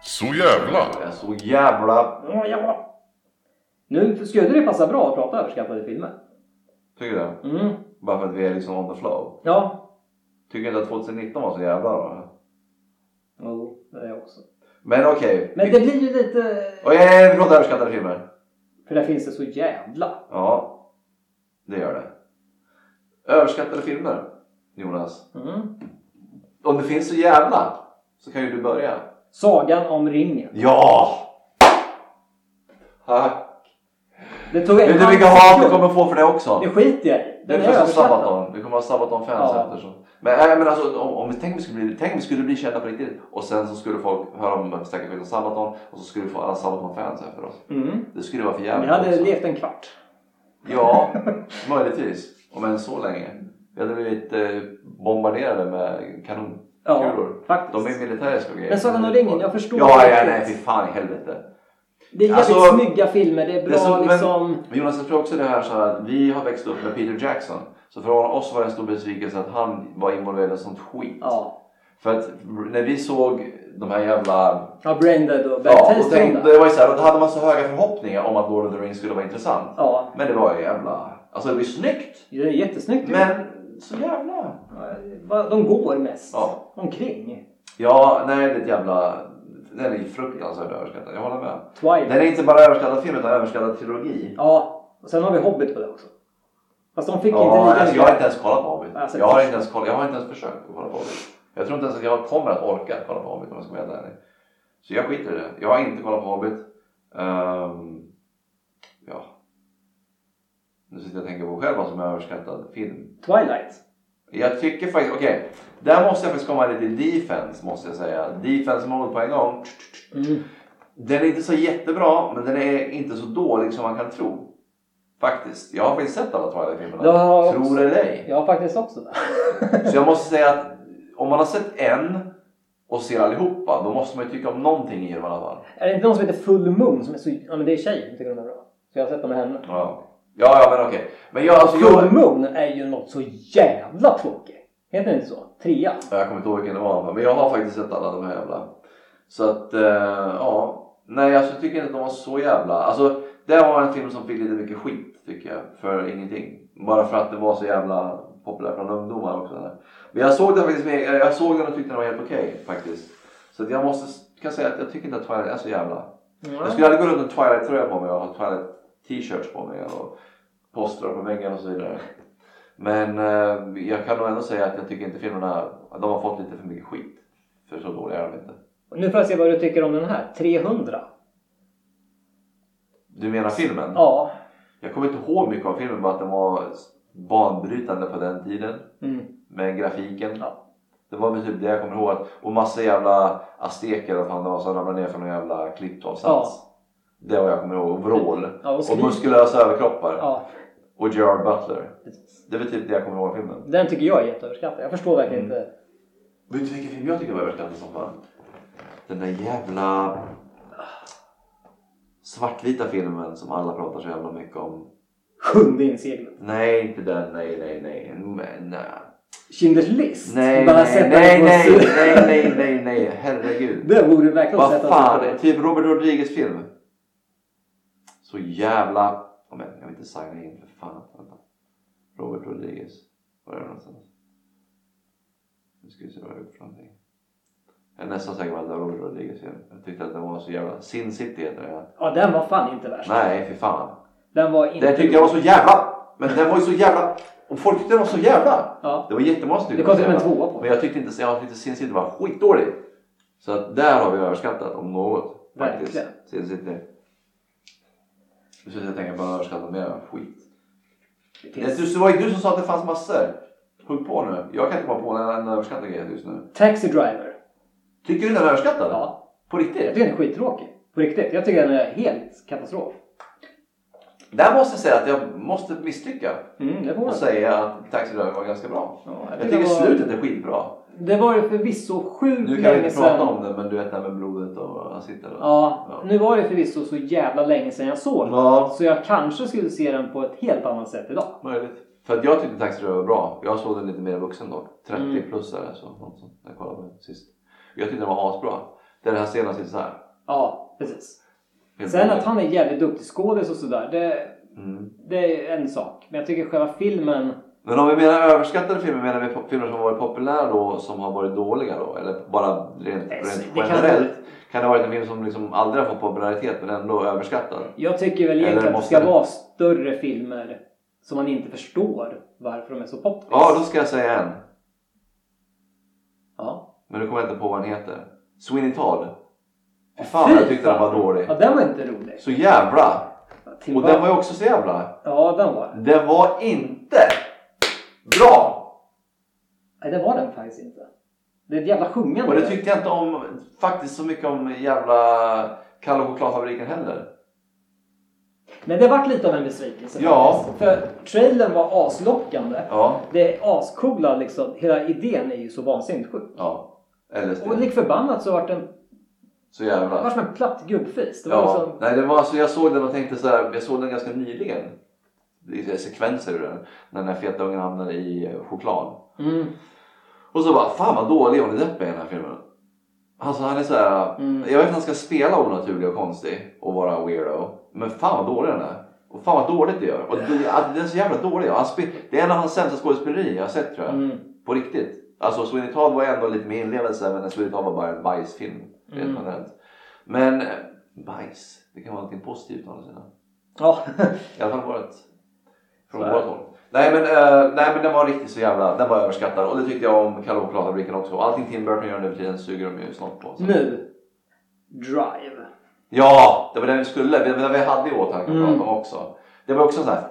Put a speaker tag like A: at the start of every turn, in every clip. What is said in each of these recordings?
A: Så jävla!
B: Jag är så jävla...
C: Ja, ja. Nu skulle det passa bra att prata överskattade filmer.
B: Tycker du?
C: Mm.
B: Bara för att vi är liksom on the flow.
C: Ja.
B: Tycker inte att 2019 var så jävla bra?
C: Jo, det är jag också.
B: Men okej.
C: Men det blir ju lite...
B: Och jag vi pratar överskattade filmer.
C: För där finns det så jävla.
B: Ja, det gör det. Överskattade filmer, Jonas.
C: Mm.
B: Om det finns så jävla så kan ju du börja.
C: Sagan om ringen.
B: Ja! Ha.
C: Det tog en
B: Vet du
C: halv
B: vilka hat du
C: sekund.
B: kommer få för det också?
C: Det skiter jag i.
B: Det
C: Den
B: är
C: är
B: precis som
C: överskattad.
B: Sabaton. Vi kommer ha Sabaton-fans
C: Ja.
B: efter. Så. Men, nej, men alltså, om, om, vi- tänk, om vi skulle bli, tänk om vi skulle bli kända på riktigt och sen så skulle folk höra om Snacka skit om Sabaton och så skulle vi få alla Sabaton-fans efter oss.
C: Mm.
B: Det skulle vara för
C: Vi
B: jävligt
C: hade
B: också.
C: levt en kvart.
B: Ja, möjligtvis. Om än så länge. Vi hade blivit eh, bombarderade med
C: Ja,
B: kanonkulor.
C: faktiskt.
B: De är militäriska grejer.
C: Men Sagan om ringen, jag förstår
B: Ja,
C: det
B: ja,
C: riktigt.
B: nej fy fan i helvete.
C: Det är jävligt
B: Alltså,
C: snygga filmer. Det är bra
B: det är så- men-
C: liksom...
B: Men Jonas, jag tror också det här så här att vi har växt upp med Peter Jackson. Så för oss var det en stor besvikelse att han var involverad i sånt skit.
C: Ja.
B: För att när vi såg de här jävla...
C: Ja, Braindead och
B: Ja,
C: Bad
B: och
C: Taste
B: tänkte,
C: tänkte...
B: det var ju så här, då hade man så höga förhoppningar om att Lord of the Rings skulle vara intressant.
C: Ja,
B: Men det var ju jävla... Alltså det var ju snyggt.
C: det är jättesnyggt ju.
B: Men så jävla...
C: Va- De går mest
B: Ja.
C: omkring.
B: Ja, nej det är ett jävla... Den är fruktansvärt överskattad, jag håller med.
C: Twilight.
B: Den är inte bara överskattad film utan överskattad trilogi.
C: Ja, och sen har vi Hobbit på det också. Fast de fick inte
B: Ja,
C: lika
B: alltså, jag har inte ens kollat på Hobbit.
C: Alltså,
B: jag, har
C: först-
B: inte ens koll... jag har inte ens försökt att kolla på Hobbit. Jag tror inte ens att jag kommer att orka kolla på Hobbit om jag ska vara helt ärlig. Så jag skiter i det. Jag har inte kollat på Hobbit. Ehm, ja. Nu sitter jag och tänker på själv vad som är överskattad film.
C: Twilight.
B: Jag tycker faktiskt, okej. Där måste jag faktiskt komma lite defense måste jag säga. Defense mode på en gång.
C: Mm.
B: Den är inte så jättebra men den är inte så dålig som man kan tro. Faktiskt. Jag har faktiskt sett alla Twilight-filmerna.
C: Jag har också-
B: Tror det eller ej.
C: Jag har faktiskt också det.
B: Så jag måste säga att om man har sett en och ser allihopa då måste man ju tycka om någonting i dem i alla fall.
C: Är det inte någon som heter Full Moon som är så... Ja men det är tjej som tycker de är bra. Så jag har sett dem med henne.
B: Ja, ja, ja men okej. Men jag, alltså, jag,
C: Full Moon är ju något så jävla tråkigt. Heter det inte så? Trea.
B: Ja, Jag kommer inte ihåg vilken det var men jag har faktiskt sett alla de här jävla. Så att eh, ja. Nej alltså, jag tycker inte att de var så jävla. Alltså det var en film som fick lite mycket skit tycker jag. För ingenting. Bara för att det var så jävla populär bland ungdomar också. Där. Men jag såg den faktiskt med, eh, jag såg den och tyckte den var helt okej faktiskt. Så att jag måste kan säga att jag tycker inte att Twilight är så jävla. Jag skulle aldrig gå runt med Twilight tröja på mig och ha Twilight t-shirts på mig och postrar på väggen och så vidare. Men eh, jag kan nog ändå säga att jag tycker inte filmerna, att de har fått lite för mycket skit. För så dåliga är de inte.
C: Och Nu får jag se vad du tycker om den här. 300.
B: Du menar filmen?
C: Ja.
B: Jag kommer inte ihåg mycket av filmen bara att den var banbrytande på den tiden.
C: Mm.
B: Med grafiken.
C: Ja.
B: Det var väl typ det jag kommer ihåg. att- Och massa jävla azteker och fan det var som ramlade ner från en jävla klippavsats. Det var jag kommer ihåg. Och vrål.
C: Ja, och
B: och
C: skrik.
B: muskulösa överkroppar.
C: Ja.
B: Och Gerard Butler.
C: precis.
B: Det är väl typ det jag kommer ihåg av filmen.
C: Den tycker jag är jätteöverskattad. Jag förstår verkligen inte.
B: Vet du vilken film jag tycker var överskattad som fan? Den där jävla ah, svartvita filmen som alla pratar så jävla mycket om.
C: Sjunde inseglet.
B: Nej, inte den. Nej, nej, nej. Men, nej,
C: Schindler's list.
B: nej,
C: Bara
B: nej,
C: sätta
B: nej,
C: den på
B: nej,
C: en-
B: nej, nej, nej, nej, herregud.
C: Det borde verkligen
B: Vad
C: sätta
B: fan, typ Robert Rodriguez film. Så jävla... Ja, men jag vill inte signa in för fan. Vänta. Robert Rodriguez. Var är det någonstans? Nu ska vi se vad jag har gjort för någonting. Jag är nästan säker på att det var Robert Rodriguez film. Jag tyckte att den var så jävla... Sin City heter den.
C: Ja, den var fan inte värst.
B: Nej, för fan.
C: Den var inte...
B: Den tyckte jag var så jävla... Men den var ju så jävla... Och folk tyckte den var så jävla!
C: Ja.
B: Det var jättemånga som tyckte
C: Det kom
B: den
C: till
B: var
C: och
B: så
C: med en
B: jävla.
C: tvåa på
B: Men jag tyckte inte... Jag tyckte Sin City var skitdålig. Så att där har vi överskattat om något. Faktiskt.
C: Verkligen.
B: Sin City. Nu ska jag tänka på överskattat mer skit.
C: Det
B: Det,
C: finns...
B: det var ju du som sa att det fanns massor. Hugg på nu. Jag kan inte komma på en enda överskattad grej just nu.
C: Taxi Driver.
B: Tycker du den är överskattad?
C: Ja.
B: På
C: Jag
B: riktigt?
C: tycker den är skittråkig. På riktigt. Jag tycker den är helt katastrof.
B: Där måste jag säga att jag måste misstycka
C: Mm, det får man
B: och säga att Taxi Driver var ganska bra.
C: Ja,
B: Alltså, Jag tycker
C: det var-
B: slutet är skitbra.
C: Det var ju förvisso sjukt
B: Nu kan vi
C: länge
B: inte prata
C: sedan.
B: om det men du vet det här med blodet och han sitter och...
C: Ja,
B: Ja.
C: nu var det förvisso så jävla länge sedan jag såg den.
B: Ja,
C: Så jag kanske skulle se den på ett helt annat sätt idag.
B: möjligt. För att jag tyckte Taxi Driver var bra. Jag såg den lite mer vuxen då. 30
C: Mm.
B: plus eller så. Något sånt. Jag kollade på den sist. Jag tyckte den var asbra. Den här scenen sitter så här.
C: Ja, precis.
B: Helt
C: Sen att
B: enkelt.
C: han är jävligt duktig skådis och sådär, det,
B: Mm.
C: det är en sak. Men jag tycker själva filmen...
B: Men om vi menar överskattade filmer, menar vi po- filmer som har varit populära då som har varit dåliga då? Eller bara rent,
C: Nej, så-
B: rent
C: det kan-
B: generellt? Kan det ha varit en film som liksom aldrig har fått popularitet men ändå överskattad?
C: Jag tycker väl egentligen
B: Eller
C: att det
B: måste
C: ska
B: det-
C: vara större filmer som man inte förstår varför de är så poppis.
B: Ja, då ska jag säga en.
C: ja.
B: Men nu kommer jag inte på vad den heter. Sweeney Todd. Fy
C: Fy
B: fan jag tyckte den
C: fan.
B: var dålig.
C: ja, den var inte rolig.
B: Så jävla!
C: Till
B: Och
C: vad-
B: den var ju också så jävla.
C: Ja, den var
B: Den var inte bra!
C: Nej, det var den faktiskt inte. Det är ett jävla sjungande.
B: Och det tyckte jag inte om faktiskt så mycket om jävla Kalle chokladfabriken heller.
C: Men det vart lite av en besvikelse
B: Ja.
C: faktiskt. För trailern var aslockande.
B: Ja.
C: Det är ascoola liksom. Hela idén är ju så vansinnigt sjuk.
B: Ja. LSD.
C: Och lik förbannat så vart den...
B: Så
C: Det var
B: jävla.
C: som en platt gubbfis. Det var
B: Ja.
C: liksom...
B: Nej det var alltså jag såg den och tänkte så här. Jag såg den ganska nyligen. Det är sekvenser ur den. När den här feta ungen hamnar i choklad.
C: Mm.
B: Och så bara, fan vad dålig Johnny Depp är i den här filmen. Alltså han är så här,
C: Mm.
B: jag vet att han ska spela onaturlig och konstig och vara weirdo. Men fan vad dålig den är. Och fan vad dåligt det gör. Och det, att det är så jävla dåligt. Han spe, det är en av hans sämsta skådespeleri jag har sett tror jag.
C: Mm.
B: På riktigt. Alltså Sweeney Todd var ändå lite mer inlevelse men Sweeney Todd var bara en bajsfilm. Rent
C: Mm.
B: generellt. Men eh, bajs, det kan vara någonting positivt å andra sidan.
C: Ja.
B: I alla fall varit från
C: Så är
B: vårt håll. Nej men, eh, nej men den var riktigt så jävla, den var överskattad och det tyckte jag om Kalle och Chokladfabriken också. Allting Tim Burton gör nu för tiden suger de ju snart på. Så.
C: nu. Drive.
B: Ja! Det var den vi skulle, vi, vi hade ju åtanke att
C: Mm.
B: prata om också. Det var också en sån här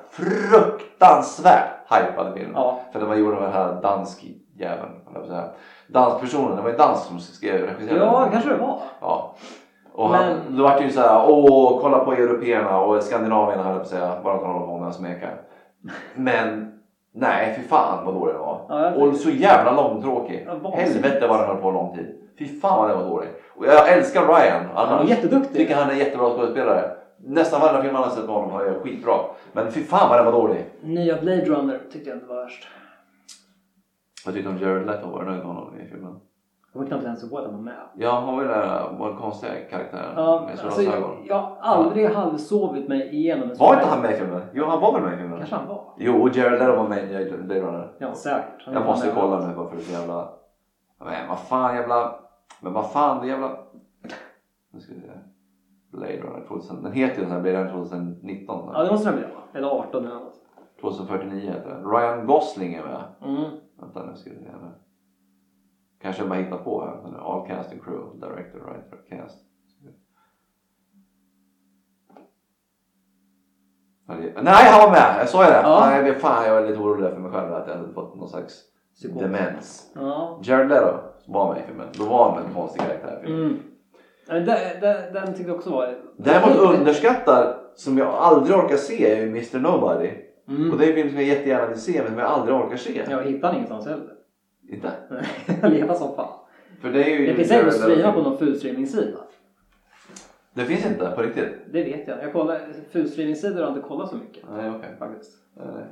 B: fruktansvärt hypad film.
C: Ja.
B: För den var gjord av den här dansk jäveln, eller vad säga. Danspersonen, det var ju dans som skrev regisserade den.
C: Ja, kanske det var.
B: Ja. Och
C: Men-
B: han, då vart det ju så här, åh kolla på européerna och skandinavierna höll jag på att säga, bara de håller på med och smekar. Men nej, fy fan vad dålig den var.
C: Ja, jag
B: och så jävla långtråkig.
C: Ja, vansinnigt.
B: Helvete vad den höll på lång tid. Fy fan vad den var dålig. Och jag älskar Ryan
C: Han var
B: annars.
C: jätteduktig.
B: tycker han är en jättebra skådespelare. Nästan varenda film man har sett med honom är skitbra. Men fy fan vad den var dålig.
C: Nya Blade Runner tyckte jag inte var värst.
B: Vad tyckte du om Jared Leto? Var du nöjd med honom i filmen?
C: Jag var knappt ens ihåg att han var med.
B: Ja, han var ju den där var konstiga karaktären
C: Ja,
B: med stora
C: alltså, jag,
B: glasögon.
C: jag har aldrig halvsovit mig igenom en sån
B: Var
C: här-
B: inte han med i filmen? Jo, han var väl med i filmen?
C: Kanske han var.
B: Jo, och Jared Leto var med i Blade Runner.
C: Ja, säkert. Han
B: Jag
C: är
B: måste
C: fan
B: kolla
C: med.
B: nu bara för det är jävla... Men vad fan jävla... Men vad fan det jävla... Nu ska vi se. Blade Runner 2000. Den heter ju den här Blade Runner 2019.
C: Ja, det måste den bli. va? Eller 18 eller något.
B: 2049 heter den. Ryan Gosling är med.
C: Mm.
B: Vänta nu ska vi se här. Kanske jag bara hittar på här. Vänta nu. All casting crew, director, writer, cast. Ja, det- Nej, han var med! Jag sa ju det!
C: Ja.
B: Nej, men fan, jag är lite orolig där för mig själv att jag hade fått någon slags
C: Psykos.
B: demens.
C: Ja.
B: Jared Leto var med i filmen. Då var han en konstig karaktär. i filmen.
C: Mm. Den, den, den tyckte jag också var... Mm.
B: Däremot underskattad, som jag aldrig orkar se, är ju Mr Nobody.
C: Mm.
B: Och det är en film som jag jättegärna vill se, men som jag aldrig orkar se.
C: Jag hittade ingenstans heller.
B: Inte?
C: jag letar som fan.
B: För det är ju...
C: Det finns
B: Jared
C: säkert att streama
B: Leto-
C: på någon fulstreamingsida.
B: Det finns inte, på riktigt?
C: Det vet jag. Jag kollar... Fulstreamingsidor har jag inte kollat så mycket.
B: Nej, okej.
C: Faktiskt.
B: Nej.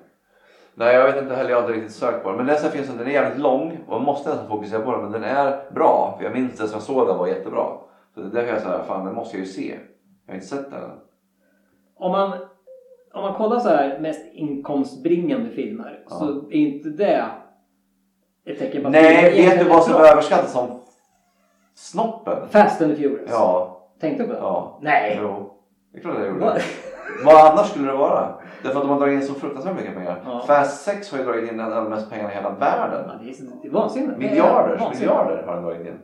B: Nej, jag vet inte heller. Jag har inte riktigt sökt på den. Men den här filmen, den är jävligt lång och man måste nästan fokusera på den. Men den är bra. För jag minns den som jag såg den var jättebra. Så det är därför jag säger, fan den måste jag ju se. Jag har inte sett den än.
C: Om man, om man kollar så här mest inkomstbringande filmer
B: Ja.
C: så är inte det ett tecken på att
B: Nej,
C: filmen
B: vet du vad som
C: bra.
B: är överskattat som snoppen?
C: Fast and the Furious.
B: Ja,
C: Tänkte du på det?
B: ja.
C: Nej!
B: Jo. Det är klart jag
C: Va?
B: gjorde. Vad annars skulle det vara? Därför att de har dragit in så fruktansvärt mycket pengar.
C: Ja.
B: Fast 6 har ju dragit in en av de mest pengarna i hela världen.
C: Ja, det är det är vansinnigt. Det
B: Miljarder,
C: är vansinnigt.
B: miljarder har den dragit in.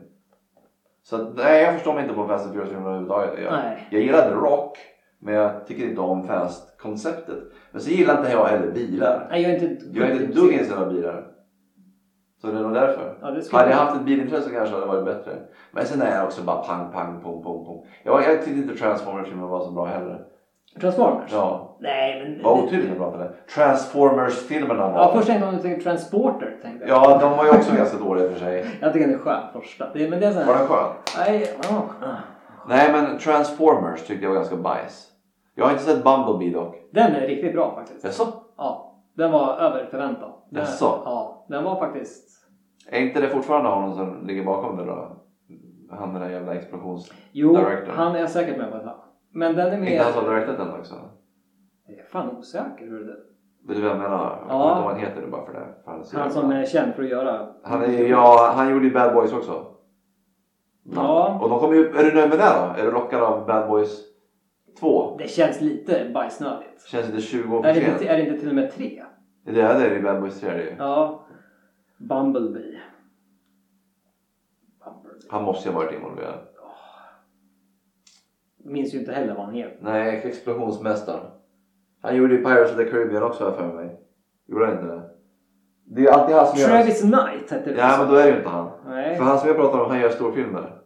B: Så att, nej, jag förstår mig inte på Fast and Furious filmer överhuvudtaget. Jag,
C: Nej.
B: jag gillade rock, men jag tycker inte om Fast-konceptet. Men så gillar inte jag heller bilar.
C: Nej, jag är inte ett
B: Jag är inte ett dugg intresserad av bilar. Så det är nog därför.
C: Ja, det skulle
B: Hade jag
C: jag-
B: haft ett bilintresse kanske hade det varit bättre. Men sen är jag också bara pang, pang, pong, pong, pong. Jag, jag tyckte inte Transformers-filmen var så bra heller.
C: Transformers?
B: Ja,
C: Nej, men...
B: vad otydligt jag pratade. Transformers-filmerna var...
C: Ja, först tänkte jag att det var Transporter. Tänkte jag.
B: Ja, de var ju också ganska dåliga i och för sig.
C: Jag tycker den är skön första. Det, men det är så här...
B: Var den skön?
C: Nej, ja.
B: Nej men Transformers tyckte jag var ganska bajs. Jag har inte sett Bumblebee dock.
C: Den är riktigt bra faktiskt.
B: Jaså?
C: Ja, den var över förväntan. Den-
B: Jaså?
C: Ja, den var faktiskt...
B: Är inte det fortfarande honom som ligger bakom det då? han den där jävla explosions...
C: Jo,
B: Director.
C: han är säkert med på ett hörn. Men den är
B: Inte han
C: mer...
B: som directat den också?
C: Jag är fan osäker. hur det-
B: Vet du vem jag menar? Jag
C: Ja.
B: kommer inte ihåg vad han heter nu bara för det. För är så
C: Han
B: jävla-
C: som är känd för att göra...
B: han, är, ju- ja, han gjorde ju Bad Boys också.
C: Ja.
B: Och de kommer ju... Är du nöjd med det då? Är du lockad av Bad Boys 2?
C: Det känns lite bajsnödigt.
B: Känns inte 20 år
C: Är
B: för
C: det, inte,
B: sent?
C: är det inte till och med tre?
B: Det är det här, det är ju Bad Boys 3 det är ju.
C: Ja. Bumblebee. Bumblebee.
B: Han måste ju ha varit involverad.
C: Minns ju inte heller vad han heter.
B: Nej, explosionsmästaren. Han gjorde ju Pirates of the Caribbean också här för mig. Gjorde han inte det? Det är ju alltid han som gör...
C: Travis Knight hette det.
B: Ja, men då är det ju inte han.
C: Nej.
B: För han som jag pratar om, han gör storfilmer.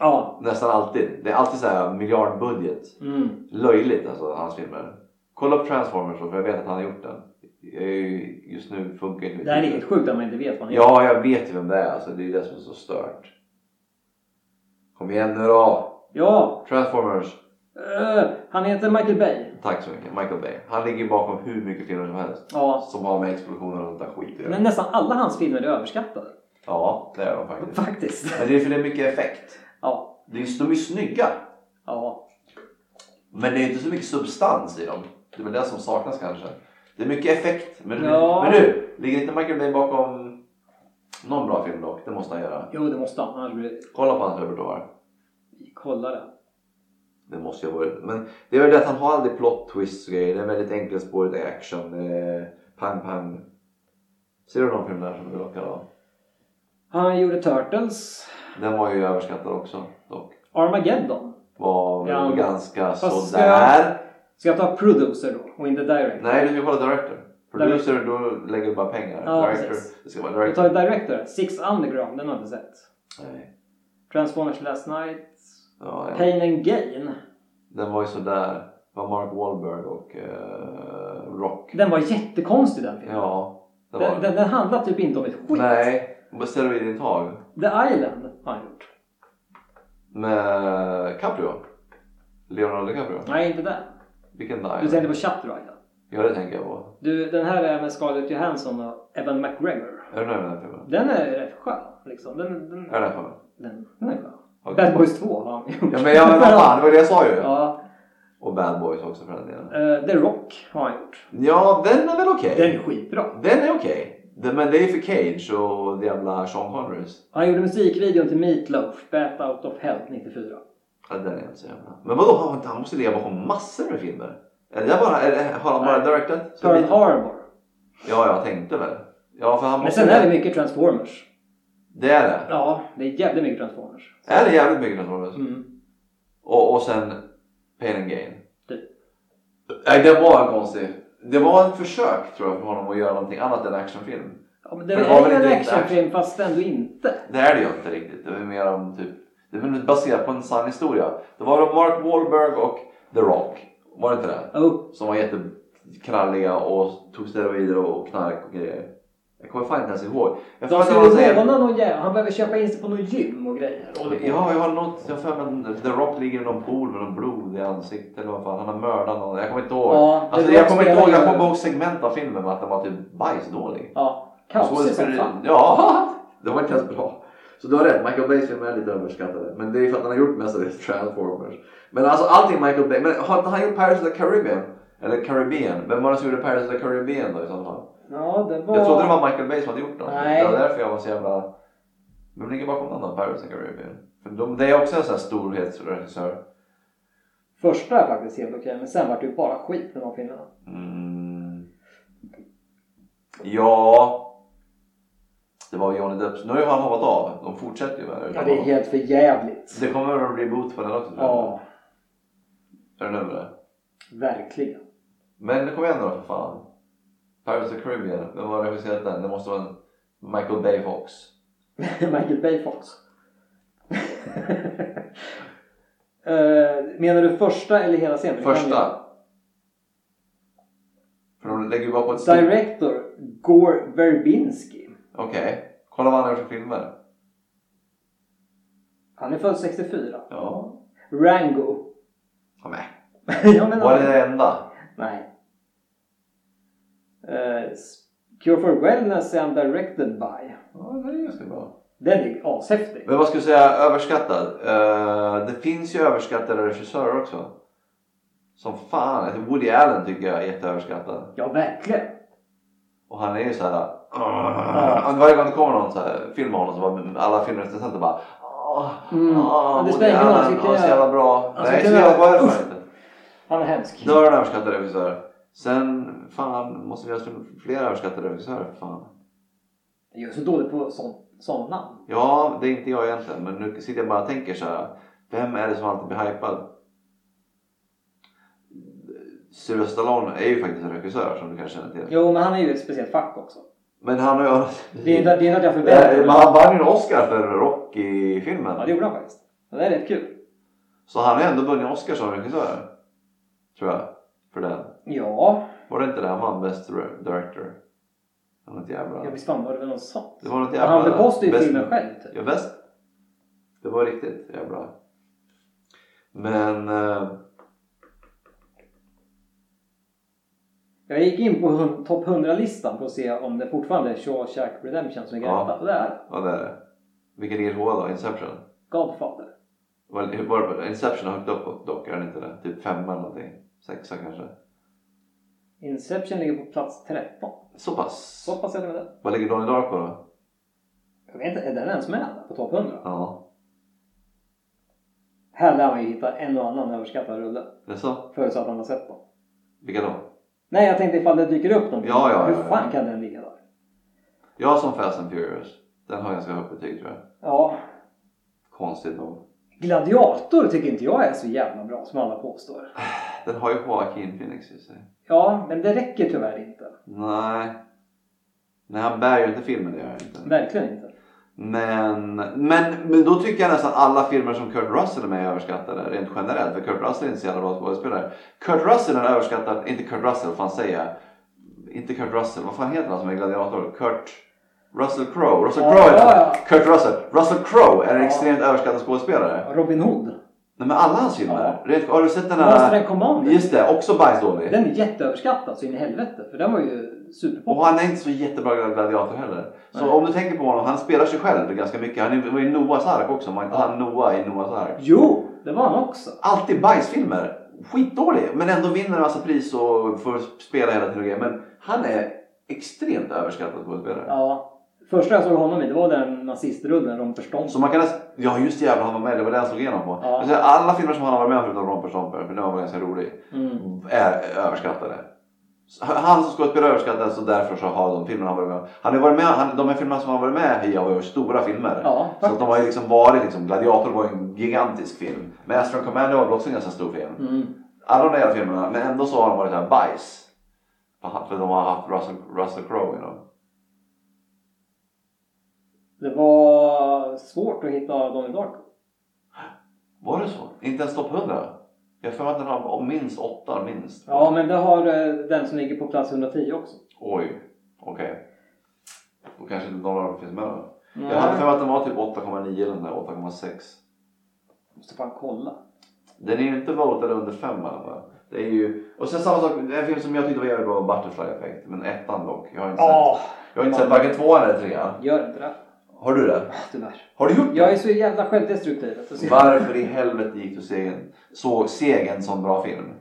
C: Ja.
B: Nästan alltid. Det är alltid så här miljardbudget.
C: Mm.
B: Löjligt alltså, hans filmer. Kolla upp Transformers då, för jag vet att han har gjort den. Jag är ju- Just nu funkar inte mitt
C: Det här är
B: huvud.
C: helt sjukt att man inte vet vad han heter.
B: Ja, jag vet ju vem det är. Alltså, det är ju det som är så stört. Kom igen nu då!
C: Ja.
B: Transformers!
C: Eh, han heter Michael Bay.
B: Tack så mycket. Michael Bay. Han ligger bakom hur mycket filmer som helst.
C: Ja.
B: Som har med explosioner och sånt där skit att göra.
C: Men nästan alla hans filmer är överskattade.
B: Ja, det är de faktiskt.
C: Faktiskt.
B: Men det är för det är mycket effekt.
C: Ja.
B: Det är, de är snygga.
C: Ja.
B: Men det är inte så mycket substans i dem. Det är väl det som saknas kanske. Det är mycket effekt. Men,
C: Ja.
B: men du, ligger inte Michael Bay bakom någon bra film dock? Det måste han göra.
C: Jo, det måste han. Annars blir det...
B: Kolla på hans repertoar.
C: Vi kollar det.
B: Det måste ju ha varit. Men det är väl det att han har aldrig plot twists och grejer. Det är väldigt enkelspårig action. Det är pang pang. Ser du någon film där som du lockar av?
C: Han gjorde Turtles.
B: Den var ju överskattad också dock.
C: Armageddon.
B: Var
C: Ja, men-
B: ganska
C: fast ska
B: sådär.
C: Ska jag ta producer då och inte direct?
B: Nej, du ska kolla director. Producer, då lägger du bara pengar.
C: Ja,
B: director,
C: precis.
B: det ska vara
C: Jag
B: director.
C: tar director. Six Underground, den har jag inte sett.
B: Nej.
C: Transformers Last Night.
B: Ja, ja.
C: Pain and Gain.
B: Den var ju sådär. Det var Mark Wahlberg och eh, Rock.
C: Den var jättekonstig den filmen.
B: Ja, det var
C: den, den, den handlar typ inte om ett skit.
B: Nej, vad ställer vi din tag?
C: The Island har han gjort.
B: Med Caprio? Leonardo DiCaprio?
C: Nej, inte den.
B: Vilken
C: Du
B: där?
C: tänkte på Shutter Island.
B: Ja, det tänker jag på.
C: Du, den här är med Scarlett Johansson och Evan McGregor.
B: Är du nöjd med den filmen?
C: Den är rätt skön. Liksom. Den, den,
B: Är den skön?
C: den, den är skön.
B: Okej.
C: Bad Boys 2 har han gjort.
B: Ja, men, ja, men vad fan, det var det jag sa ju.
C: Ja,
B: Och Bad Boys också för den delen.
C: eh, The Rock har han gjort.
B: Ja, den är väl okej?
C: Den är skitbra.
B: Den är okej. Den- Men det är för Cage och jävla Sean Connerys.
C: Han gjorde musikvideon till Meat Loaf, Bat Out of Hell 94.
B: Ja, den är inte så jävla. Men vadå, han, han måste leva på massor med filmer? Är det bara, är det, har han bara
C: Nej.
B: directat? Så
C: Pearl
B: lite?
C: Harbor.
B: Ja, jag tänkte väl. Ja, för han
C: Men
B: måste...
C: sen är det mycket Transformers.
B: Det är det.
C: Ja, det är jävligt mycket Transformers.
B: Är det jävligt mycket Transformers?
C: Mm.
B: Och, och sen Pain and Gain.
C: Typ.
B: Nej, det var en konstig... Det var ett försök tror jag för honom att göra någonting annat än actionfilm.
C: Ja, men
B: det
C: det
B: var väl
C: är ju
B: inte
C: en
B: riktigt
C: actionfilm fast ändå inte.
B: Det är det ju inte riktigt. Det är mer om typ... Det är väl baserat på en sann historia. Det var Mark Wahlberg och The Rock. Var det inte det?
C: Oh,
B: som var jättekralliga och tog steroider och knark och grejer. Jag kommer fan inte ens ihåg. Jag får
C: de
B: att det var så
C: skulle
B: här-
C: låna någon jävla... Han behöver köpa in sig på något gym och grejer. Och det-
B: Ja, jag har något. Jag har för mig att The Rock ligger i någon pool med någon blod i ansiktet eller vad fan. Han har mördat någon. Jag kommer inte ihåg.
C: Ja,
B: alltså,
C: The
B: jag
C: Rock
B: kommer inte ihåg.
C: spelar
B: Jag
C: ju-
B: kommer bara ihåg segment av filmen med att den var typ bajsdålig.
C: Ja, kaosig som
B: Skådespelare-
C: fan.
B: Ja, det var inte ens bra. Så du har rätt, Michael Bays filmer är lite överskattade. Men det är ju för att han har gjort mestadels Transformers. Men alltså allting Michael Bay. Men har inte han gjort Pirates of the Caribbean? Eller Caribbean? Vem var det som gjorde Pirates of the Caribbean då i så fall?
C: Ja, det var...
B: Jag trodde det var Michael Bay som hade gjort dem.
C: Nej.
B: Det var därför jag var så jävla... Vem ligger bakom den då? Pirates of the Caribbean? För de, det är också en sån här storhetsregissör.
C: Första är faktiskt helt okej, men sen vart det ju bara skit med de filmerna.
B: Mm. Ja... Det var Johnny Depps. Nu har ju han hoppat av. De fortsätter ju med det.
C: Ja, det är helt för jävligt.
B: Det kommer att bli boot på den också tror jag.
C: Ja,
B: Är du nöjd med det?
C: verkligen.
B: Men kom igen då för fan. Pirates of the Caribbean, vem har regisserat den? Det måste vara en Michael Bay Fox.
C: Michael Bay Fox. Eh, menar du första eller hela scenen? Det kan ju-
B: Första. För de lägger ju bara på ett stort...
C: Director Gore Verbinski.
B: Okej. Kolla vad han har gjort för filmer.
C: Han är född 64.
B: Ja.
C: Rango.
B: ja men.
C: Jag menar
B: Var det det enda?
C: Nej. Eh, Cure for Wellness är han directed by.
B: Ja, det är ganska bra.
C: Den är ju ashäftig.
B: Men vad ska jag säga överskattad? Eh, det finns ju överskattade regissörer också. Som fan. Alltså Woody Allen tycker jag är jätteöverskattad.
C: Ja, verkligen.
B: Och han är ju såhär... Uh, varje gång det kommer någon så här, film med honom så bara alla filmrecensenter bara... Uh,
C: Mm. Men det
B: Woody
C: spelar ingen roll, han
B: Allen,
C: ska
B: han är så
C: kunna-
B: jävla bra.
C: han ska
B: Nej, så
C: kunna-
B: jävla bra är det fan
C: Uff.
B: inte.
C: Han är hemsk.
B: Då är det en överskattad regissör. Sen fan måste vi ha fler överskattade regissörer. för Fan.
C: Jag är så dålig på sånt, sånt namn.
B: Ja, det är inte jag egentligen. Men nu sitter jag bara och tänker så här. Vem är det som alltid blir hypad? Sylvester Stallone är ju faktiskt en regissör som du kanske känner till.
C: Jo, men han är ju ett speciellt fack också.
B: Men han har ju...
C: Det är inte, det är inte att jag förväntar
B: Eh, Men
C: mig.
B: han vann ju en Oscar för Rocky-filmen.
C: Ja, det gjorde han faktiskt. Det där är rätt kul.
B: Så han har ju ändå vunnit Oscar som regissör. Tror jag. För den.
C: Ja,
B: Var det inte det han vann Best Director? Han är ett jävla...
C: jag visst fan var det väl något sånt.
B: Det var något jävla...
C: Han bekostade ju
B: Best-
C: filmen själv. Typ.
B: Ja, bäst. Det var riktigt jävla... Men... Eh,
C: Jag gick in på hun- topp 100-listan för att se om det fortfarande är Shawshack Redemption som är
B: Ja.
C: grätat. Och det är det.
B: vad är det? Vilken är det då? Inception?
C: Godfather.
B: Var det, var det, Inception har högt upp dock, är den inte det? Typ femma eller någonting? Sexa kanske?
C: Inception ligger på plats 13.
B: Så pass?
C: Så pass är det med den.
B: Vad ligger Donnie Darko då?
C: Jag vet inte, är den ens med där på topp 100?
B: Ja,
C: Här lär man ju hitta en och annan överskattad rulle.
B: det är så?
C: Förutsatt man har sett dem.
B: Vilka då?
C: Nej, jag tänkte ifall det dyker upp någon.
B: Ja, ja,
C: Hur
B: ja, ja.
C: fan kan den ligga där?
B: Jag som Fast and Furious. Den har ganska högt betyg tror jag.
C: Ja,
B: Konstigt nog.
C: Gladiator tycker inte jag är så jävla bra som alla påstår.
B: Den har ju Joaquin Phoenix i sig.
C: Ja, men det räcker tyvärr inte.
B: Nej. Nej, han bär ju inte filmen, det gör han inte.
C: Verkligen inte.
B: Men, men, men då tycker jag nästan alla filmer som Kurt Russell är med i är överskattade rent generellt. För Kurt Russell är inte så jävla bra skådespelare. Kurt Russell är överskattad, inte Kurt Russell, vad fan säger jag? Inte Kurt Russell, vad fan heter han som är gladiator? Kurt Russell Crowe. Russell
C: Ja,
B: Crowe heter han.
C: ja, ja.
B: Kurt Russell. Russell Crowe är en
C: Ja.
B: extremt överskattad skådespelare.
C: Robin Hood.
B: Nej men alla hans filmer. Rent, har du sett den
C: Monster and
B: här?
C: Commander.
B: Just det, också bajsdålig.
C: Den är jätteöverskattad så in i helvete. För den var ju
B: Och
C: superpoppis.
B: han är inte så jättebra gladiator heller. Så
C: Nej.
B: om du tänker på honom, han spelar sig själv ganska mycket. Han är- var ju Noahs ark också, var inte han Noah i Noahs ark?
C: Jo, det var han också.
B: Alltid bajsfilmer. Skitdålig. Men ändå vinner en massa pris och får spela hela trilogin. Men han är extremt överskattad skådespelare.
C: Ja. Första jag såg honom i det var den nazistrullen Romper Stomper.
B: Så man kan nästan... Ja just det, jävlar han var med. Det var det han slog igenom på.
C: Ja.
B: Alltså, alla filmer som han har varit med förutom Romper Stomper, för den var ganska rolig,
C: Mm.
B: är överskattade. Han som skådespelare är överskattad så därför så har de filmerna han varit med han har varit med, han, De här filmerna som han varit med i har varit stora filmer.
C: Ja,
B: så att de har ju liksom varit liksom, Gladiator var ju en gigantisk film. Men Astro Commando var väl också en ganska stor film.
C: Mm.
B: alla de där filmerna, men ändå så har de varit så här bajs. För de har haft Russell, Russell Crowe i dem.
C: Det var svårt att hitta Donnie Darko.
B: Var det så? Inte ens topp 100? Jag har för mig att den har minst åtta, minst.
C: Ja, men det har eh, den som ligger på plats 110 också.
B: Oj, okej. Då kanske inte några av dem finns med då.
C: Mm.
B: Jag hade för mig att den var typ 8,9 eller den där, 8,6.
C: Måste fan kolla.
B: Den är ju inte votad under 5 i alla fall. Det är ju... Och sen samma sak, en film som jag tyckte var jävligt bra var Butterfly Effect. Men ettan dock. Jag har inte sett. Jag har inte sett varken tvåan eller trean.
C: Gör inte det.
B: Har du det?
C: Ah, Tyvärr.
B: Har du gjort det?
C: Jag är så jävla självdestruktiv. Så jag-
B: Varför i helvete gick du segern, så segern som bra film?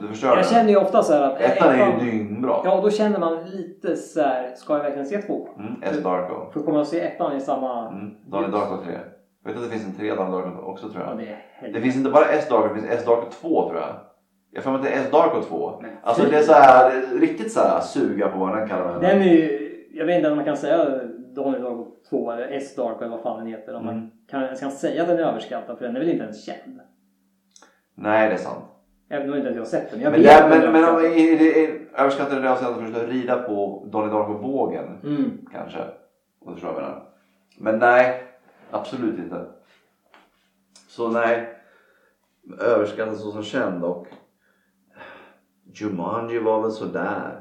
B: Du förstör
C: Jag
B: den.
C: känner ju ofta så här att...
B: Ettan är
C: ettan-
B: ju dyngbra.
C: Ja, då känner man lite så här, ska jag verkligen se tvåan?
B: Mm, S. Darko.
C: För kommer jag se ettan i samma...
B: Mm, Donnie Darko 3. Jag vet att det finns en tredje Donnie Darko också tror
C: Ja,
B: jag.
C: det är
B: Det
C: helvete.
B: finns inte bara S. Darko, det finns S. Darko 2 tror jag. Jag har för mig att det är S. Darko 2.
C: Men
B: Alltså
C: fy.
B: det är så här, riktigt så här suga på vad den kallar man
C: Den är ju... Jag vet inte om man kan säga Donnie Darko 2 eller S-Dark eller vad fan den heter. Om
B: Mm.
C: man kan, ens kan säga att den är överskattad för den är väl inte ens känd.
B: Nej det är sant.
C: Även om inte ens jag har sett den. Jag
B: Men,
C: vet
B: där,
C: att den är
B: men, men om, i,
C: överskattad.
B: i, i, överskattade det avseendet att försöka rida på Donnie Darko-vågen
C: Mm.
B: kanske. Om du förstår vad jag menar. Men nej, absolut inte. Så nej, överskattad så som känd och Jumanji var väl sådär.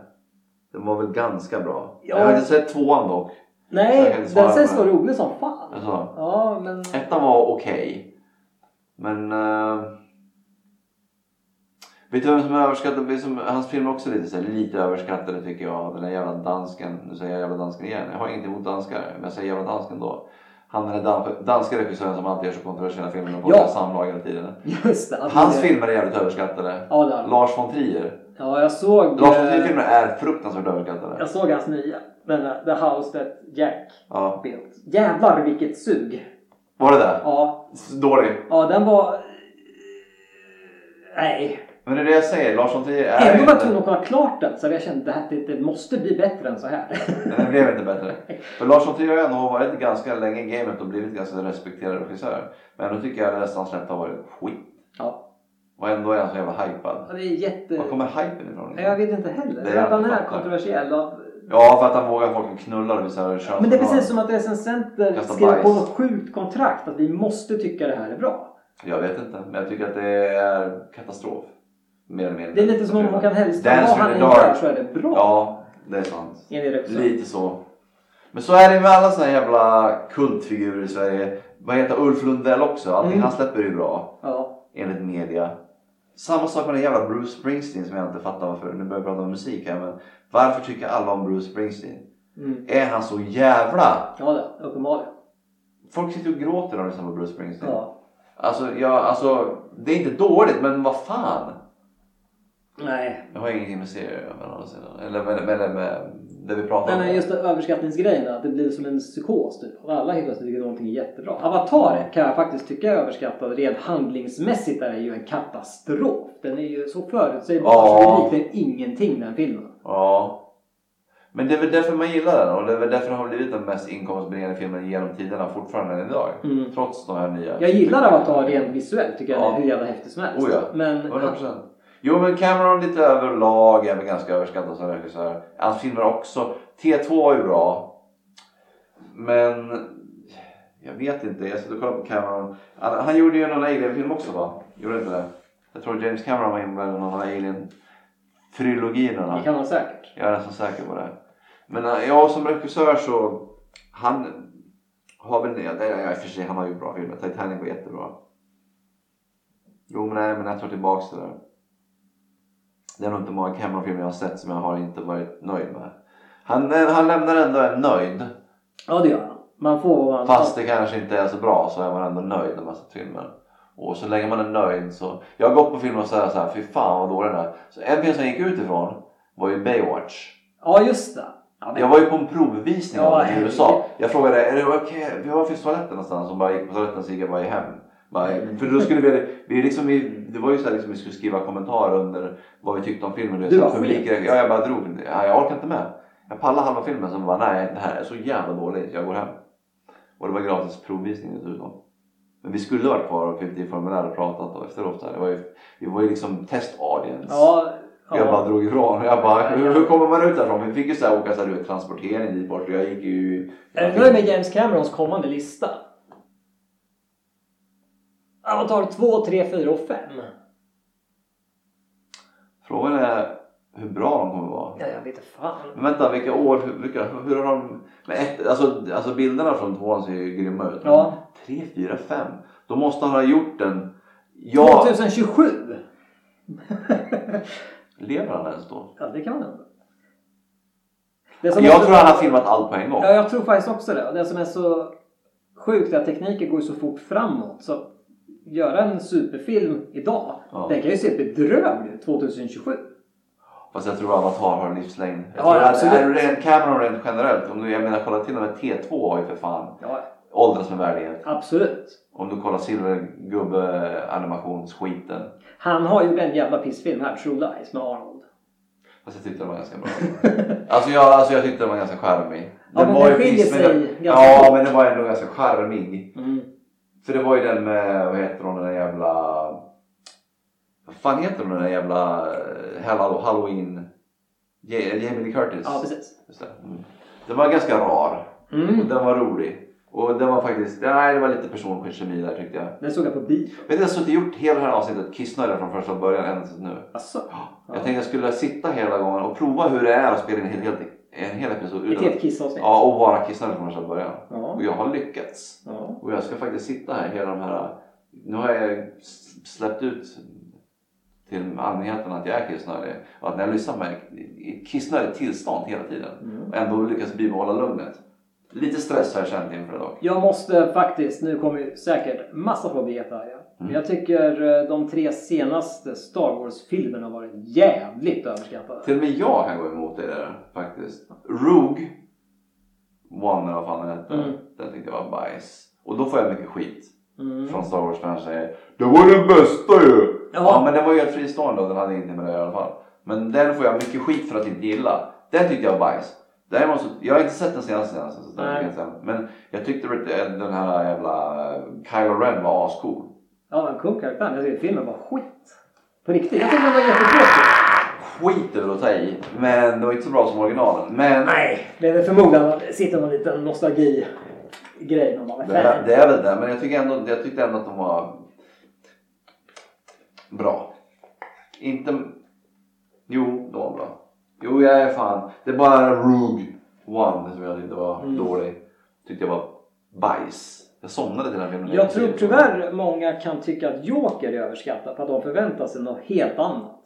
B: Den var väl ganska bra.
C: Ja.
B: Jag har inte sett tvåan dock. Jag kan
C: Nej,
B: inte svara
C: den
B: på
C: sägs
B: det.
C: vara rolig som fan.
B: Alltså,
C: Ja, men...
B: ettan var okej. Men... eh, vet du vem som är överskattad? Vet du som- Hans film är också lite, så här, lite överskattade tycker jag. Den där jävla dansken. Nu säger jag jävla dansken igen. Jag har inget emot danskar. Men jag säger jävla dansken då. han den där danska regissören som alltid gör så kontroversiella filmer på
C: Ja.
B: samlag hela tiden.
C: Just det. att
B: Hans
C: det-
B: filmer är jävligt överskattade.
C: Ja, det är han.
B: Lars von Trier.
C: ja, jag såg...
B: Lars von
C: eh,
B: Trier-filmer är fruktansvärt överskattade.
C: Jag såg hans nya. Den där The House That Jack
B: Ja.
C: built. Jävlar vilket sug!
B: Var det där?
C: Ja,
B: Dålig.
C: ja den var... eh, Nej.
B: Men det är det jag säger. Lars von Trier är ju
C: Ändå var jag
B: inte...
C: tvungen att kolla klart den så jag kände att det, det måste bli bättre än så här.
B: Nej, Den blev inte bättre. För Lars von Trier har ändå varit ganska länge i gamet och blivit ganska respekterad regissör. Men ändå tycker jag nästan släppt har varit skit.
C: Ja.
B: Och ändå är han så jävla hypad.
C: Ja, Det är jätte...
B: Var kommer hypen ifrån?
C: Nej, Jag vet inte heller.
B: Det
C: Det
B: är
C: är att han
B: jag
C: är
B: fattar.
C: kontroversiell. av-
B: Ja, för att han vågar folk knulla och visa könsorgan.
C: Men det är precis som att recensenter
B: Kasta
C: skrev på
B: bajs.
C: något sjukt kontrakt att vi måste tycka det här är bra.
B: Jag vet inte, men jag tycker att det är katastrof. Mer eller mindre.
C: Det är lite som om Håkan Hellström, vad
B: Dance in
C: han än
B: the dark.
C: gör så är det bra.
B: Ja, det är sant.
C: Enligt regissören.
B: Lite så. Men så är det med alla såna här jävla kultfigurer i Sverige. Vad heter Ulf Lundell också? Allting
C: Mm.
B: han släpper är ju bra,
C: Ja.
B: enligt media. Samma sak med den jävla Bruce Springsteen som jag inte fattar varför. Nu börjar jag prata om musik här men. Varför tycker alla om Bruce Springsteen?
C: Mm.
B: Är han så jävla...
C: Ja, det, uppenbarligen.
B: Folk sitter och gråter när de lyssnar på Bruce Springsteen.
C: Ja.
B: Alltså, jag, alltså, det är inte dåligt men vad fan.
C: Nej.
B: Jag har ingenting med serier att göra, men å andra sidan. Eller med, med, med, med det vi pratar
C: Nej,
B: om.
C: men just det, överskattningsgrejen, att det blir som en psykos typ. Och alla helt plötsligt tycker någonting är jättebra. Avatar kan jag faktiskt tycka är överskattad. Rent handlingsmässigt är det ju en katastrof. Den är ju så förutsägbar
B: Ja.
C: så det liknar ingenting den filmen.
B: Ja. Men det är väl därför man gillar den och det är väl därför den har blivit den mest inkomstbringande filmen genom tiderna fortfarande än idag.
C: Mm.
B: Trots de här nya. typ-
C: Jag gillar Avatar rent visuellt, tycker jag
B: Ja.
C: det är hur jävla häftigt som helst.
B: Oh ja.
C: Men
B: 100%. Jo men Cameron lite överlag är väl ganska överskattad som regissör. Hans filmer också. T2 var ju bra. Men jag vet inte. Jag sitter och kollar på Cameron. Han, han gjorde ju någon Alien-film också va? Gjorde inte det? Jag tror James Cameron var inblandad i någon Alien-trilogi eller något.
C: det kan man säkert.
B: Jag är nästan säker på det. Men eh, jag som regissör så... Han har väl... Nej, nej, nej, i och för sig, han har ju bra filmer. Titanic var jättebra. Jo, men nej, men jag tar tillbaks det där. Det är nog inte många Cameron-filmer jag har sett som jag har inte varit nöjd med. Han, eh, han lämnar ändå en nöjd.
C: Ja, det gör han. Man får vad man
B: Fast det kanske inte är så bra så är man ändå nöjd när man sett filmen. Och så länge man är nöjd så... Jag har gått på filmer och sagt så här, fy fan vad dålig den är. Så en film som jag gick utifrån var ju Baywatch.
C: Ja, just det. Ja, men-
B: Jag var ju på en provvisning
C: Ja,
B: av den i
C: herregud.
B: USA. Jag frågade, är det okej? Okay? Var finns toaletten någonstans? Och bara gick på toaletten så gick jag bara hem. Bara,
C: Mm.
B: för då skulle vi, vi liksom, i- det var ju så här liksom, vi skulle skriva kommentarer under vad vi tyckte om filmen. Det är
C: Du
B: så här
C: var
B: publik- Ja, jag bara drog. Ja, jag orkar inte med. Jag pallade halva filmen sen bara, nej det här är så jävla dåligt. Jag går hem. Och det var gratis provvisning dessutom. Men vi skulle ha varit kvar och fyllt i formulär och pratat och efteråt. Så här. Det var ju, vi var ju liksom test audience.
C: Ja, ja.
B: Jag bara drog ifrån och jag bara, hur, hur kommer man ut därifrån? Vi fick ju så här åka så här, du vet, transportering dit bort och jag gick ju...
C: Är du nöjd med James Camerons kommande lista? Avatar 2, 3, 4 och 5.
B: Frågan är hur bra de kommer vara.
C: Ja, jag vet inte fan.
B: Men vänta, vilka år, hur- vilka, hur har de... Men ett, alltså, alltså bilderna från tvåan ser ju grymma ut. men
C: Ja.
B: Tre, fyra, fem. Då måste han ha gjort den... Ja,
C: 2027!
B: lever han ens då?
C: Ja, det kan man ändå. Det som
B: Jag
C: också-
B: tror han har filmat allt på en gång.
C: Ja, jag tror faktiskt också det. Och Det som är så sjukt är att tekniken går ju så fort framåt. Så att göra en superfilm idag,
B: Ja.
C: den kan ju se bedrövlig ut 2027.
B: Fast jag tror Avatar har en livslängd. Jag
C: Ja,
B: tror att-
C: absolut.
B: är rent- Cameron rent generellt. Om du, jag menar kolla till och med T2 har ju för fan
C: Ja,
B: åldrats med värdighet.
C: absolut.
B: Om du kollar silvergubbe-animationsskiten.
C: Han har ju en jävla pissfilm här, True Lies, med Arnold.
B: Fast jag tyckte den var ganska bra. alltså, jag, alltså jag tyckte den var ganska charmig.
C: Ja, men den skiljer
B: precis-
C: sig
B: men den-
C: ganska
B: Ja
C: fort.
B: men den var ändå ganska charmig.
C: Mm.
B: För det var ju den med, vad heter hon den där jävla... Vad fan heter hon den där jävla eh, Hall- halloween... Ja- Jamie Lee Curtis.
C: Ja, precis.
B: Just det. Mm. Den var ganska rar. Och
C: Mm.
B: den var rolig. Och den var faktiskt, nej det var lite personlig kemi där tyckte jag.
C: Den såg jag på bio.
B: Vet du, jag har suttit och gjort hela det här avsnittet kissnödig från första början ända tills nu.
C: Asså?
B: Jag tänkte jag skulle sitta hela gången och prova hur det är att spela in en hel, hel, en hel episod.
C: Ett
B: utan-
C: helt kissavsnitt.
B: Ja, och vara kissnödig från första början.
C: Ja.
B: Och jag har lyckats.
C: Ja.
B: Och jag ska faktiskt sitta här hela de här... Nu har jag s- släppt ut till allmänheten att jag är kissnödig. Och att när jag lyssnar på mig i kissnödigt tillstånd hela tiden.
C: Mm.
B: Och ändå lyckas bibehålla lugnet. Lite stress har jag känt inför idag.
C: Jag måste faktiskt, nu kommer ju säkert massa folk bli jättearga. Men jag
B: Mm.
C: tycker eh, de tre senaste Star Wars-filmerna har varit jävligt överskattade.
B: Till och med jag kan gå emot dig där faktiskt. Rogue One eller vad fan den hette.
C: Mm.
B: Den tyckte jag var bajs. Och då får jag mycket skit
C: Mm.
B: från Star Wars fans säger Det var den bästa ju!
C: Ja.
B: Ja. men den var ju helt fristående och den hade ingenting med det att göra i alla fall. Men den får jag mycket skit för att inte gilla. Den tyckte jag var bajs. Däremot så, jag har inte sett den senaste senaste. Så den
C: Nej.
B: kan jag säga. Men jag tyckte att eh, den här jävla eh, Kylo Ren var ascool.
C: Ja, en cool karaktär. men Jag tycker filmen var skit. På riktigt. Jag tycker den var jättetråkig.
B: Skit är väl att ta i. Men det var inte så bra som originalen. Men
C: Nej, det är väl förmodligen att det sitter någon liten nostalgi-grej. Man bara,
B: Det
C: "Fan."
B: är, det är väl det, men jag, tycker ändå, jag tyckte ändå att de var bra. Inte... Jo, de var bra. Jo, jag är fan. Det är bara Rogue One som jag tyckte var
C: Mm.
B: dålig. Tyckte jag var bajs. Jag somnade till den filmen.
C: Jag tror tyvärr många kan tycka att Joker är överskattad för att de förväntar sig något helt annat.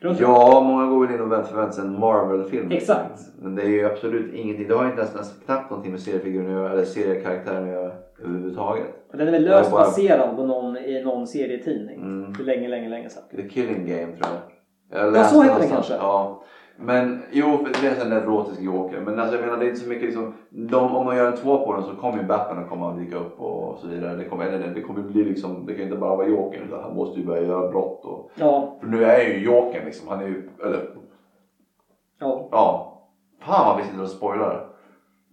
C: Tror du inte?
B: Ja, många går väl in och vänt- förväntar sig en Marvel-film.
C: Exakt.
B: Men det är ju absolut ingenting. Det har inte ens, ens knappt någonting med seriefiguren att göra eller seriekaraktären att göra överhuvudtaget.
C: Och Den är väl löst
B: Jag bara-
C: baserad på någon, i någon serietidning.
B: Mm.
C: För länge, länge, länge sedan.
B: The Killing Game tror jag. Jag
C: Ja, så heter den
B: någonstans,
C: kanske.
B: Ja. Men jo, för det är en sån neurotisk joker. Men alltså, jag menar det är inte så mycket liksom. De, om de gör en två på den så kommer ju Batman att komma och dyka upp och så vidare. Det kommer, eller, det kommer bli liksom, det kan ju inte bara vara jokern. utan Han måste ju börja göra brott och.
C: Ja,
B: För nu är ju jokern liksom. Han är ju, eller
C: ja.
B: ja. Fan vad vi sitter och spoilar.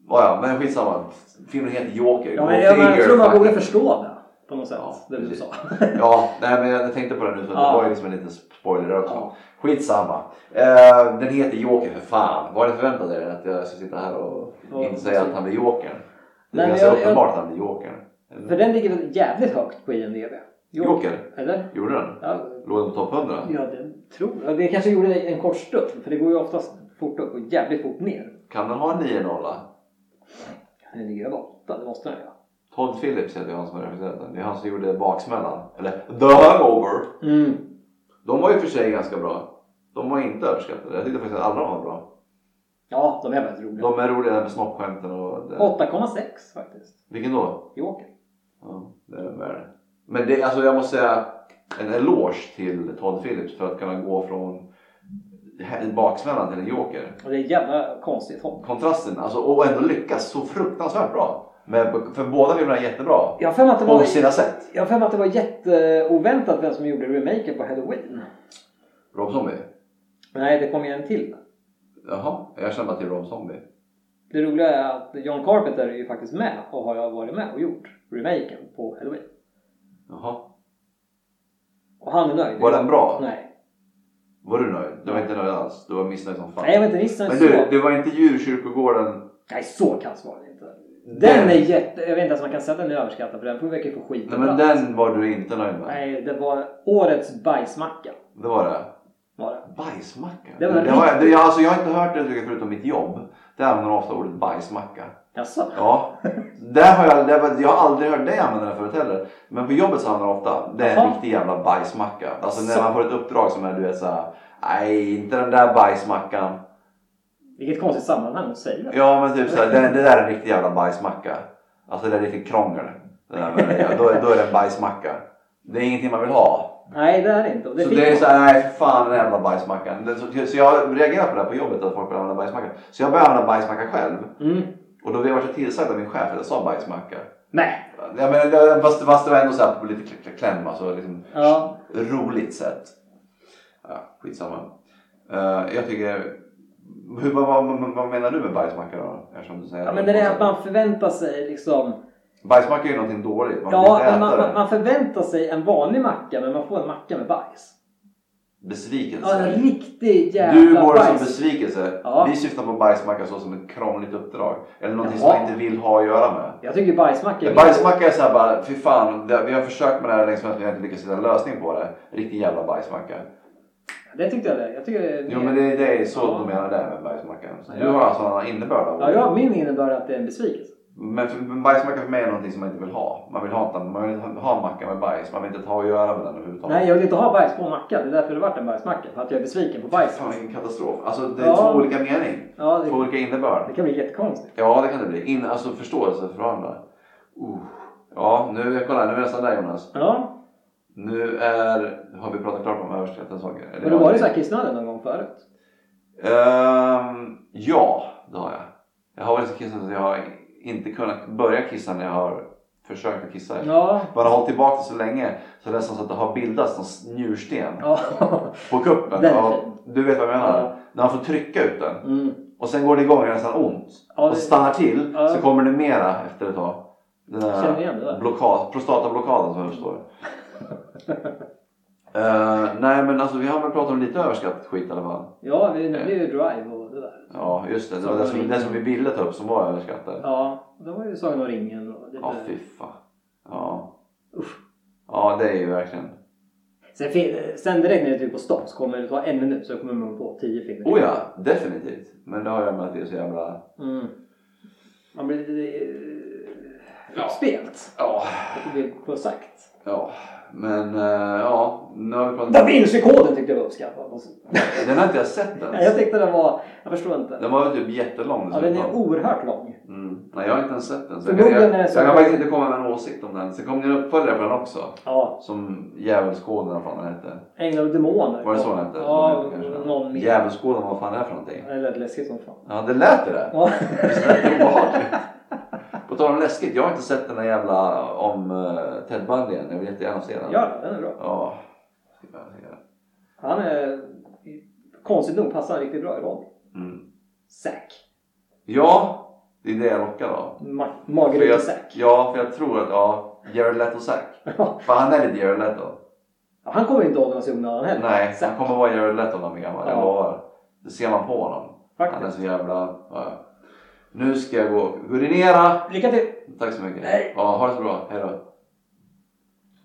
B: Ja, ja, men skitsamma. Filmen heter Joker.
C: ja
B: Go
C: men jag, men jag
B: figure,
C: tror man borde
B: fucking-
C: förstå det. På något sätt.
B: Ja,
C: det du
B: precis.
C: sa.
B: Ja, nej, men jag tänkte på det nu så
C: Ja.
B: det var ju liksom en liten spoiler också.
C: Ja.
B: Skitsamma. Eh, den heter Joker för fan. Vad hade du förväntat dig? Att jag skulle sitta här och
C: Ja,
B: inte säga att han blir Jokern? Det
C: Nej,
B: är
C: men
B: ganska
C: jag- jag-
B: uppenbart att han blir Jokern.
C: För den ligger väl jävligt högt på IMDB?
B: Joker?
C: Eller?
B: Gjorde den?
C: Ja,
B: Låg den på topp 100?
C: ja det tror jag. Det kanske gjorde en kort stund. För det går ju oftast fort upp och jävligt fort ner.
B: Kan den ha en 9-0?
C: Den ligger över åtta, det måste den göra.
B: Todd Phillips heter ju han som har regisserat den. Det är han som gjorde Baksmällan. Eller The Hangover.
C: Mm.
B: De var ju för sig ganska bra. De var inte överskattade. Jag tyckte faktiskt att alla de var bra.
C: Ja, de är väldigt roliga.
B: De är roliga där med snoppskämten och... Det.
C: 8,6 faktiskt.
B: Vilken då?
C: Joker.
B: Ja, det är värre. Men det, alltså jag måste säga en eloge till Todd Phillips för att kunna gå från här- baksmällan till en joker.
C: Och det är ett jävla konstigt hopp.
B: Kontrasten, alltså, och ändå lyckas så fruktansvärt bra. Men, för båda filmerna är jättebra.
C: Jag har för mig att det
B: På
C: var,
B: sina sätt.
C: jag har för mig att det var jätteoväntat vem som gjorde remaken på Halloween.
B: Rob Zombie?
C: Men nej, det kom ju en till.
B: Jaha, jag känner bara till Rob Zombie.
C: Det roliga är att John Carpenter är ju faktiskt med och har varit med och gjort remaken på Halloween.
B: Jaha.
C: Och han är nöjd.
B: Var den bra?
C: Nej.
B: Var du nöjd? Du var inte nöjd alls? Du var missnöjd som fan?
C: Nej, jag vet inte. Visst är den
B: Men
C: så.
B: du, det var inte djurkyrkogården?
C: Nej, så kass var den inte. Den är jätte... Jag vet inte ens om man kan säga att den är överskattad för den verkar ju få skit
B: Nej men den var du inte nöjd med?
C: Nej, det var årets bajsmacka.
B: Det var det?
C: Var det.
B: Bajsmacka?
C: Det
B: Det
C: var
B: var
C: en
B: jag,
C: riktig-
B: det, jag, alltså, jag har inte hört det uttrycket förutom mitt jobb. Där använder de ofta ordet bajsmacka.
C: Jaså?
B: Ja, där har jag, där, var- jag har aldrig hört dig använda det förut heller. Men på jobbet så använder de ofta det är en
C: Jaha.
B: riktig jävla bajsmacka. Alltså
C: Så.
B: när man får ett uppdrag som är du vet såhär, nej inte den där bajsmackan.
C: Vilket konstigt sammanhang att säga.
B: Ja men typ såhär, det, det där är en riktig jävla bajsmacka. Alltså det är riktigt krångel. Det där med det. Då, är- då är det en bajsmacka. Det är ingenting man vill ha.
C: Nej, det är det inte. Och det
B: så
C: fick
B: det är
C: man.
B: så här, nej för fan den jävla bajsmackan. Det- Så, så jag reagerar på det här på jobbet att folk börjar använda bajsmacka. Så jag började använda bajsmacka själv.
C: Mm.
B: Och då blev jag så tillsagd av min chef att jag sa bajsmacka.
C: Nej.
B: Jag menar, det- fast, fast det var ändå så här på lite kl- kl- kläm, alltså liksom
C: Ja.
B: roligt sätt. Ja, skitsamma. Eh, jag tycker, hur, vad, vad, vad menar du med bajsmacka då? Eftersom du säger
C: Ja, men det är att man förväntar sig liksom...
B: Bajsmacka är ju någonting dåligt, man
C: Ja,
B: vill inte
C: men
B: äta
C: man, man,
B: det.
C: man förväntar sig en vanlig macka men man får en macka med bajs. Ja, en
B: Besvikelse.
C: riktig jävla
B: Du går som
C: bajs.
B: besvikelse.
C: Ja.
B: Vi syftar på bajsmacka så som ett krångligt uppdrag. Eller någonting
C: Jaha.
B: som man inte vill ha att göra med.
C: Jag tycker bajsmacka är...
B: Bajsmacka är såhär bara, fy fan, det, vi har försökt med det här länge men vi har inte lyckats hitta en lösning på det. Riktig jävla bajsmacka.
C: Det tyckte jag det. Jag tycker det är...
B: Jo men det, det är så
C: Ja.
B: de menar det med bajsmackan. Så
C: Ja.
B: Du har alltså en annan innebörd av
C: Ja,
B: ordet.
C: jag, min innebörd är att det är en besvikelse.
B: Men för, men bajsmacka för mig är någonting som man inte vill ha. Man vill ha, inte- man vill inte ha- ha macka med bajs. Man vill inte ta och göra med den överhuvudtaget.
C: Nej, jag vill inte ha bajs på en macka. Det är därför det vart en bajsmacka. För att jag är besviken på bajs.
B: Fan vilken katastrof. Alltså det är
C: Ja.
B: två olika mening.
C: Ja,
B: Två
C: det,
B: olika innebörd.
C: det kan bli jättekonstigt.
B: Ja det kan det bli. In, alltså förståelse för varandra. Uh. Ja nu, kolla nu är vi nästan där Jonas.
C: Ja,
B: Nu är, har vi pratat klart om överskattade saker. Eller
C: men du
B: ja,
C: var ju
B: det-
C: så här kissnödig någon gång förut.
B: Ehm, ja, det har jag. Jag har varit så kissnödig att jag har inte kunnat börja kissa när jag har försökt att kissa.
C: Ja.
B: Man har hållit tillbaka det så länge så det är nästan så att det har bildats någon njursten
C: Ja.
B: på kuppen.
C: Den är
B: Ja,
C: fin.
B: du vet vad jag menar?
C: Ja.
B: När man får trycka ut den
C: Mm.
B: och sen går det igång och det är nästan ont.
C: Ja,
B: och
C: det-
B: stannar till
C: Ja.
B: så kommer det mera efter ett tag. Den
C: Jag känner igen det där.
B: blockad, prostatablockaden som jag förstår. Eh, nej men alltså vi har väl pratat om lite överskattat skit i alla fall.
C: Ja, vi, det blir ju drive och det där.
B: Ja just det, det var det som, det som vi ville ta upp som var överskattat.
C: Ja, det var ju Sagan om ringen och lite...
B: Ja fy fan. Ja.
C: Usch.
B: ja det är ju verkligen.
C: Sen, fin- sen direkt när du trycker på stopp så kommer det ta en minut så kommer man på tio filmer.
B: Oh ja, definitivt. Men det har jag med att det är så jävla...
C: Mm. Man blir lite eh,
B: Ja.
C: uppspelt.
B: Ja,
C: Det blir på sagt.
B: ja. men eh, ja nu har vi
C: Da
B: pratat
C: Vinci-koden tyckte jag var uppskattad. Alltså,
B: Den har inte jag sett ens.
C: Nej, jag tyckte den var... Jag förstår inte.
B: Den var väl typ jättelång
C: Ja, den är
B: dessutom.
C: oerhört lång.
B: Mm. Nej, jag har inte ens sett den. Så jag, kan-
C: Förmodligen
B: jag,
C: är det
B: jag
C: så
B: kan
C: att-
B: faktiskt inte komma med en åsikt om den. Sen kom det en uppföljare på den också.
C: Ja,
B: Som Djävulsgården vad fan den hette.
C: Änglar och Demoner.
B: Var det så den hette?
C: Ja,
B: Kanske.
C: någon mer.
B: Djävulsgården, vad fan är det för någonting?
C: Det lät läskigt som fan.
B: Ja, det lät ju det.
C: Ja.
B: Visst lät det obehagligt? På tal om läskigt, jag har inte sett den där jävla om eh, Ted Bundy än. Jag vill jättegärna se den.
C: Gör det, den är bra.
B: Ja. Ska jag se den.
C: Han är... Konstigt nog passar han riktigt bra i roll.
B: Mm.
C: Zack.
B: Ja, det är det jag lockar av.
C: Ma-
B: För jag,
C: Magerute-Zack.
B: ja, för jag tror att, ja, Jared Leto-Zack.
C: Ja,
B: För han är lite Jared Leto.
C: han kommer inte åldras i onödan heller.
B: Nej,
C: Zack.
B: han kommer vara Jared Leto när han blir gammal.
C: Ja.
B: Jag lovar. Det ser man på honom. Han är
C: Faktiskt.
B: så jävla... Ja. ja. Nu ska jag gå och urinera.
C: Lycka till!
B: Tack så mycket.
C: Nej.
B: Ja, ha det så bra. Hej då.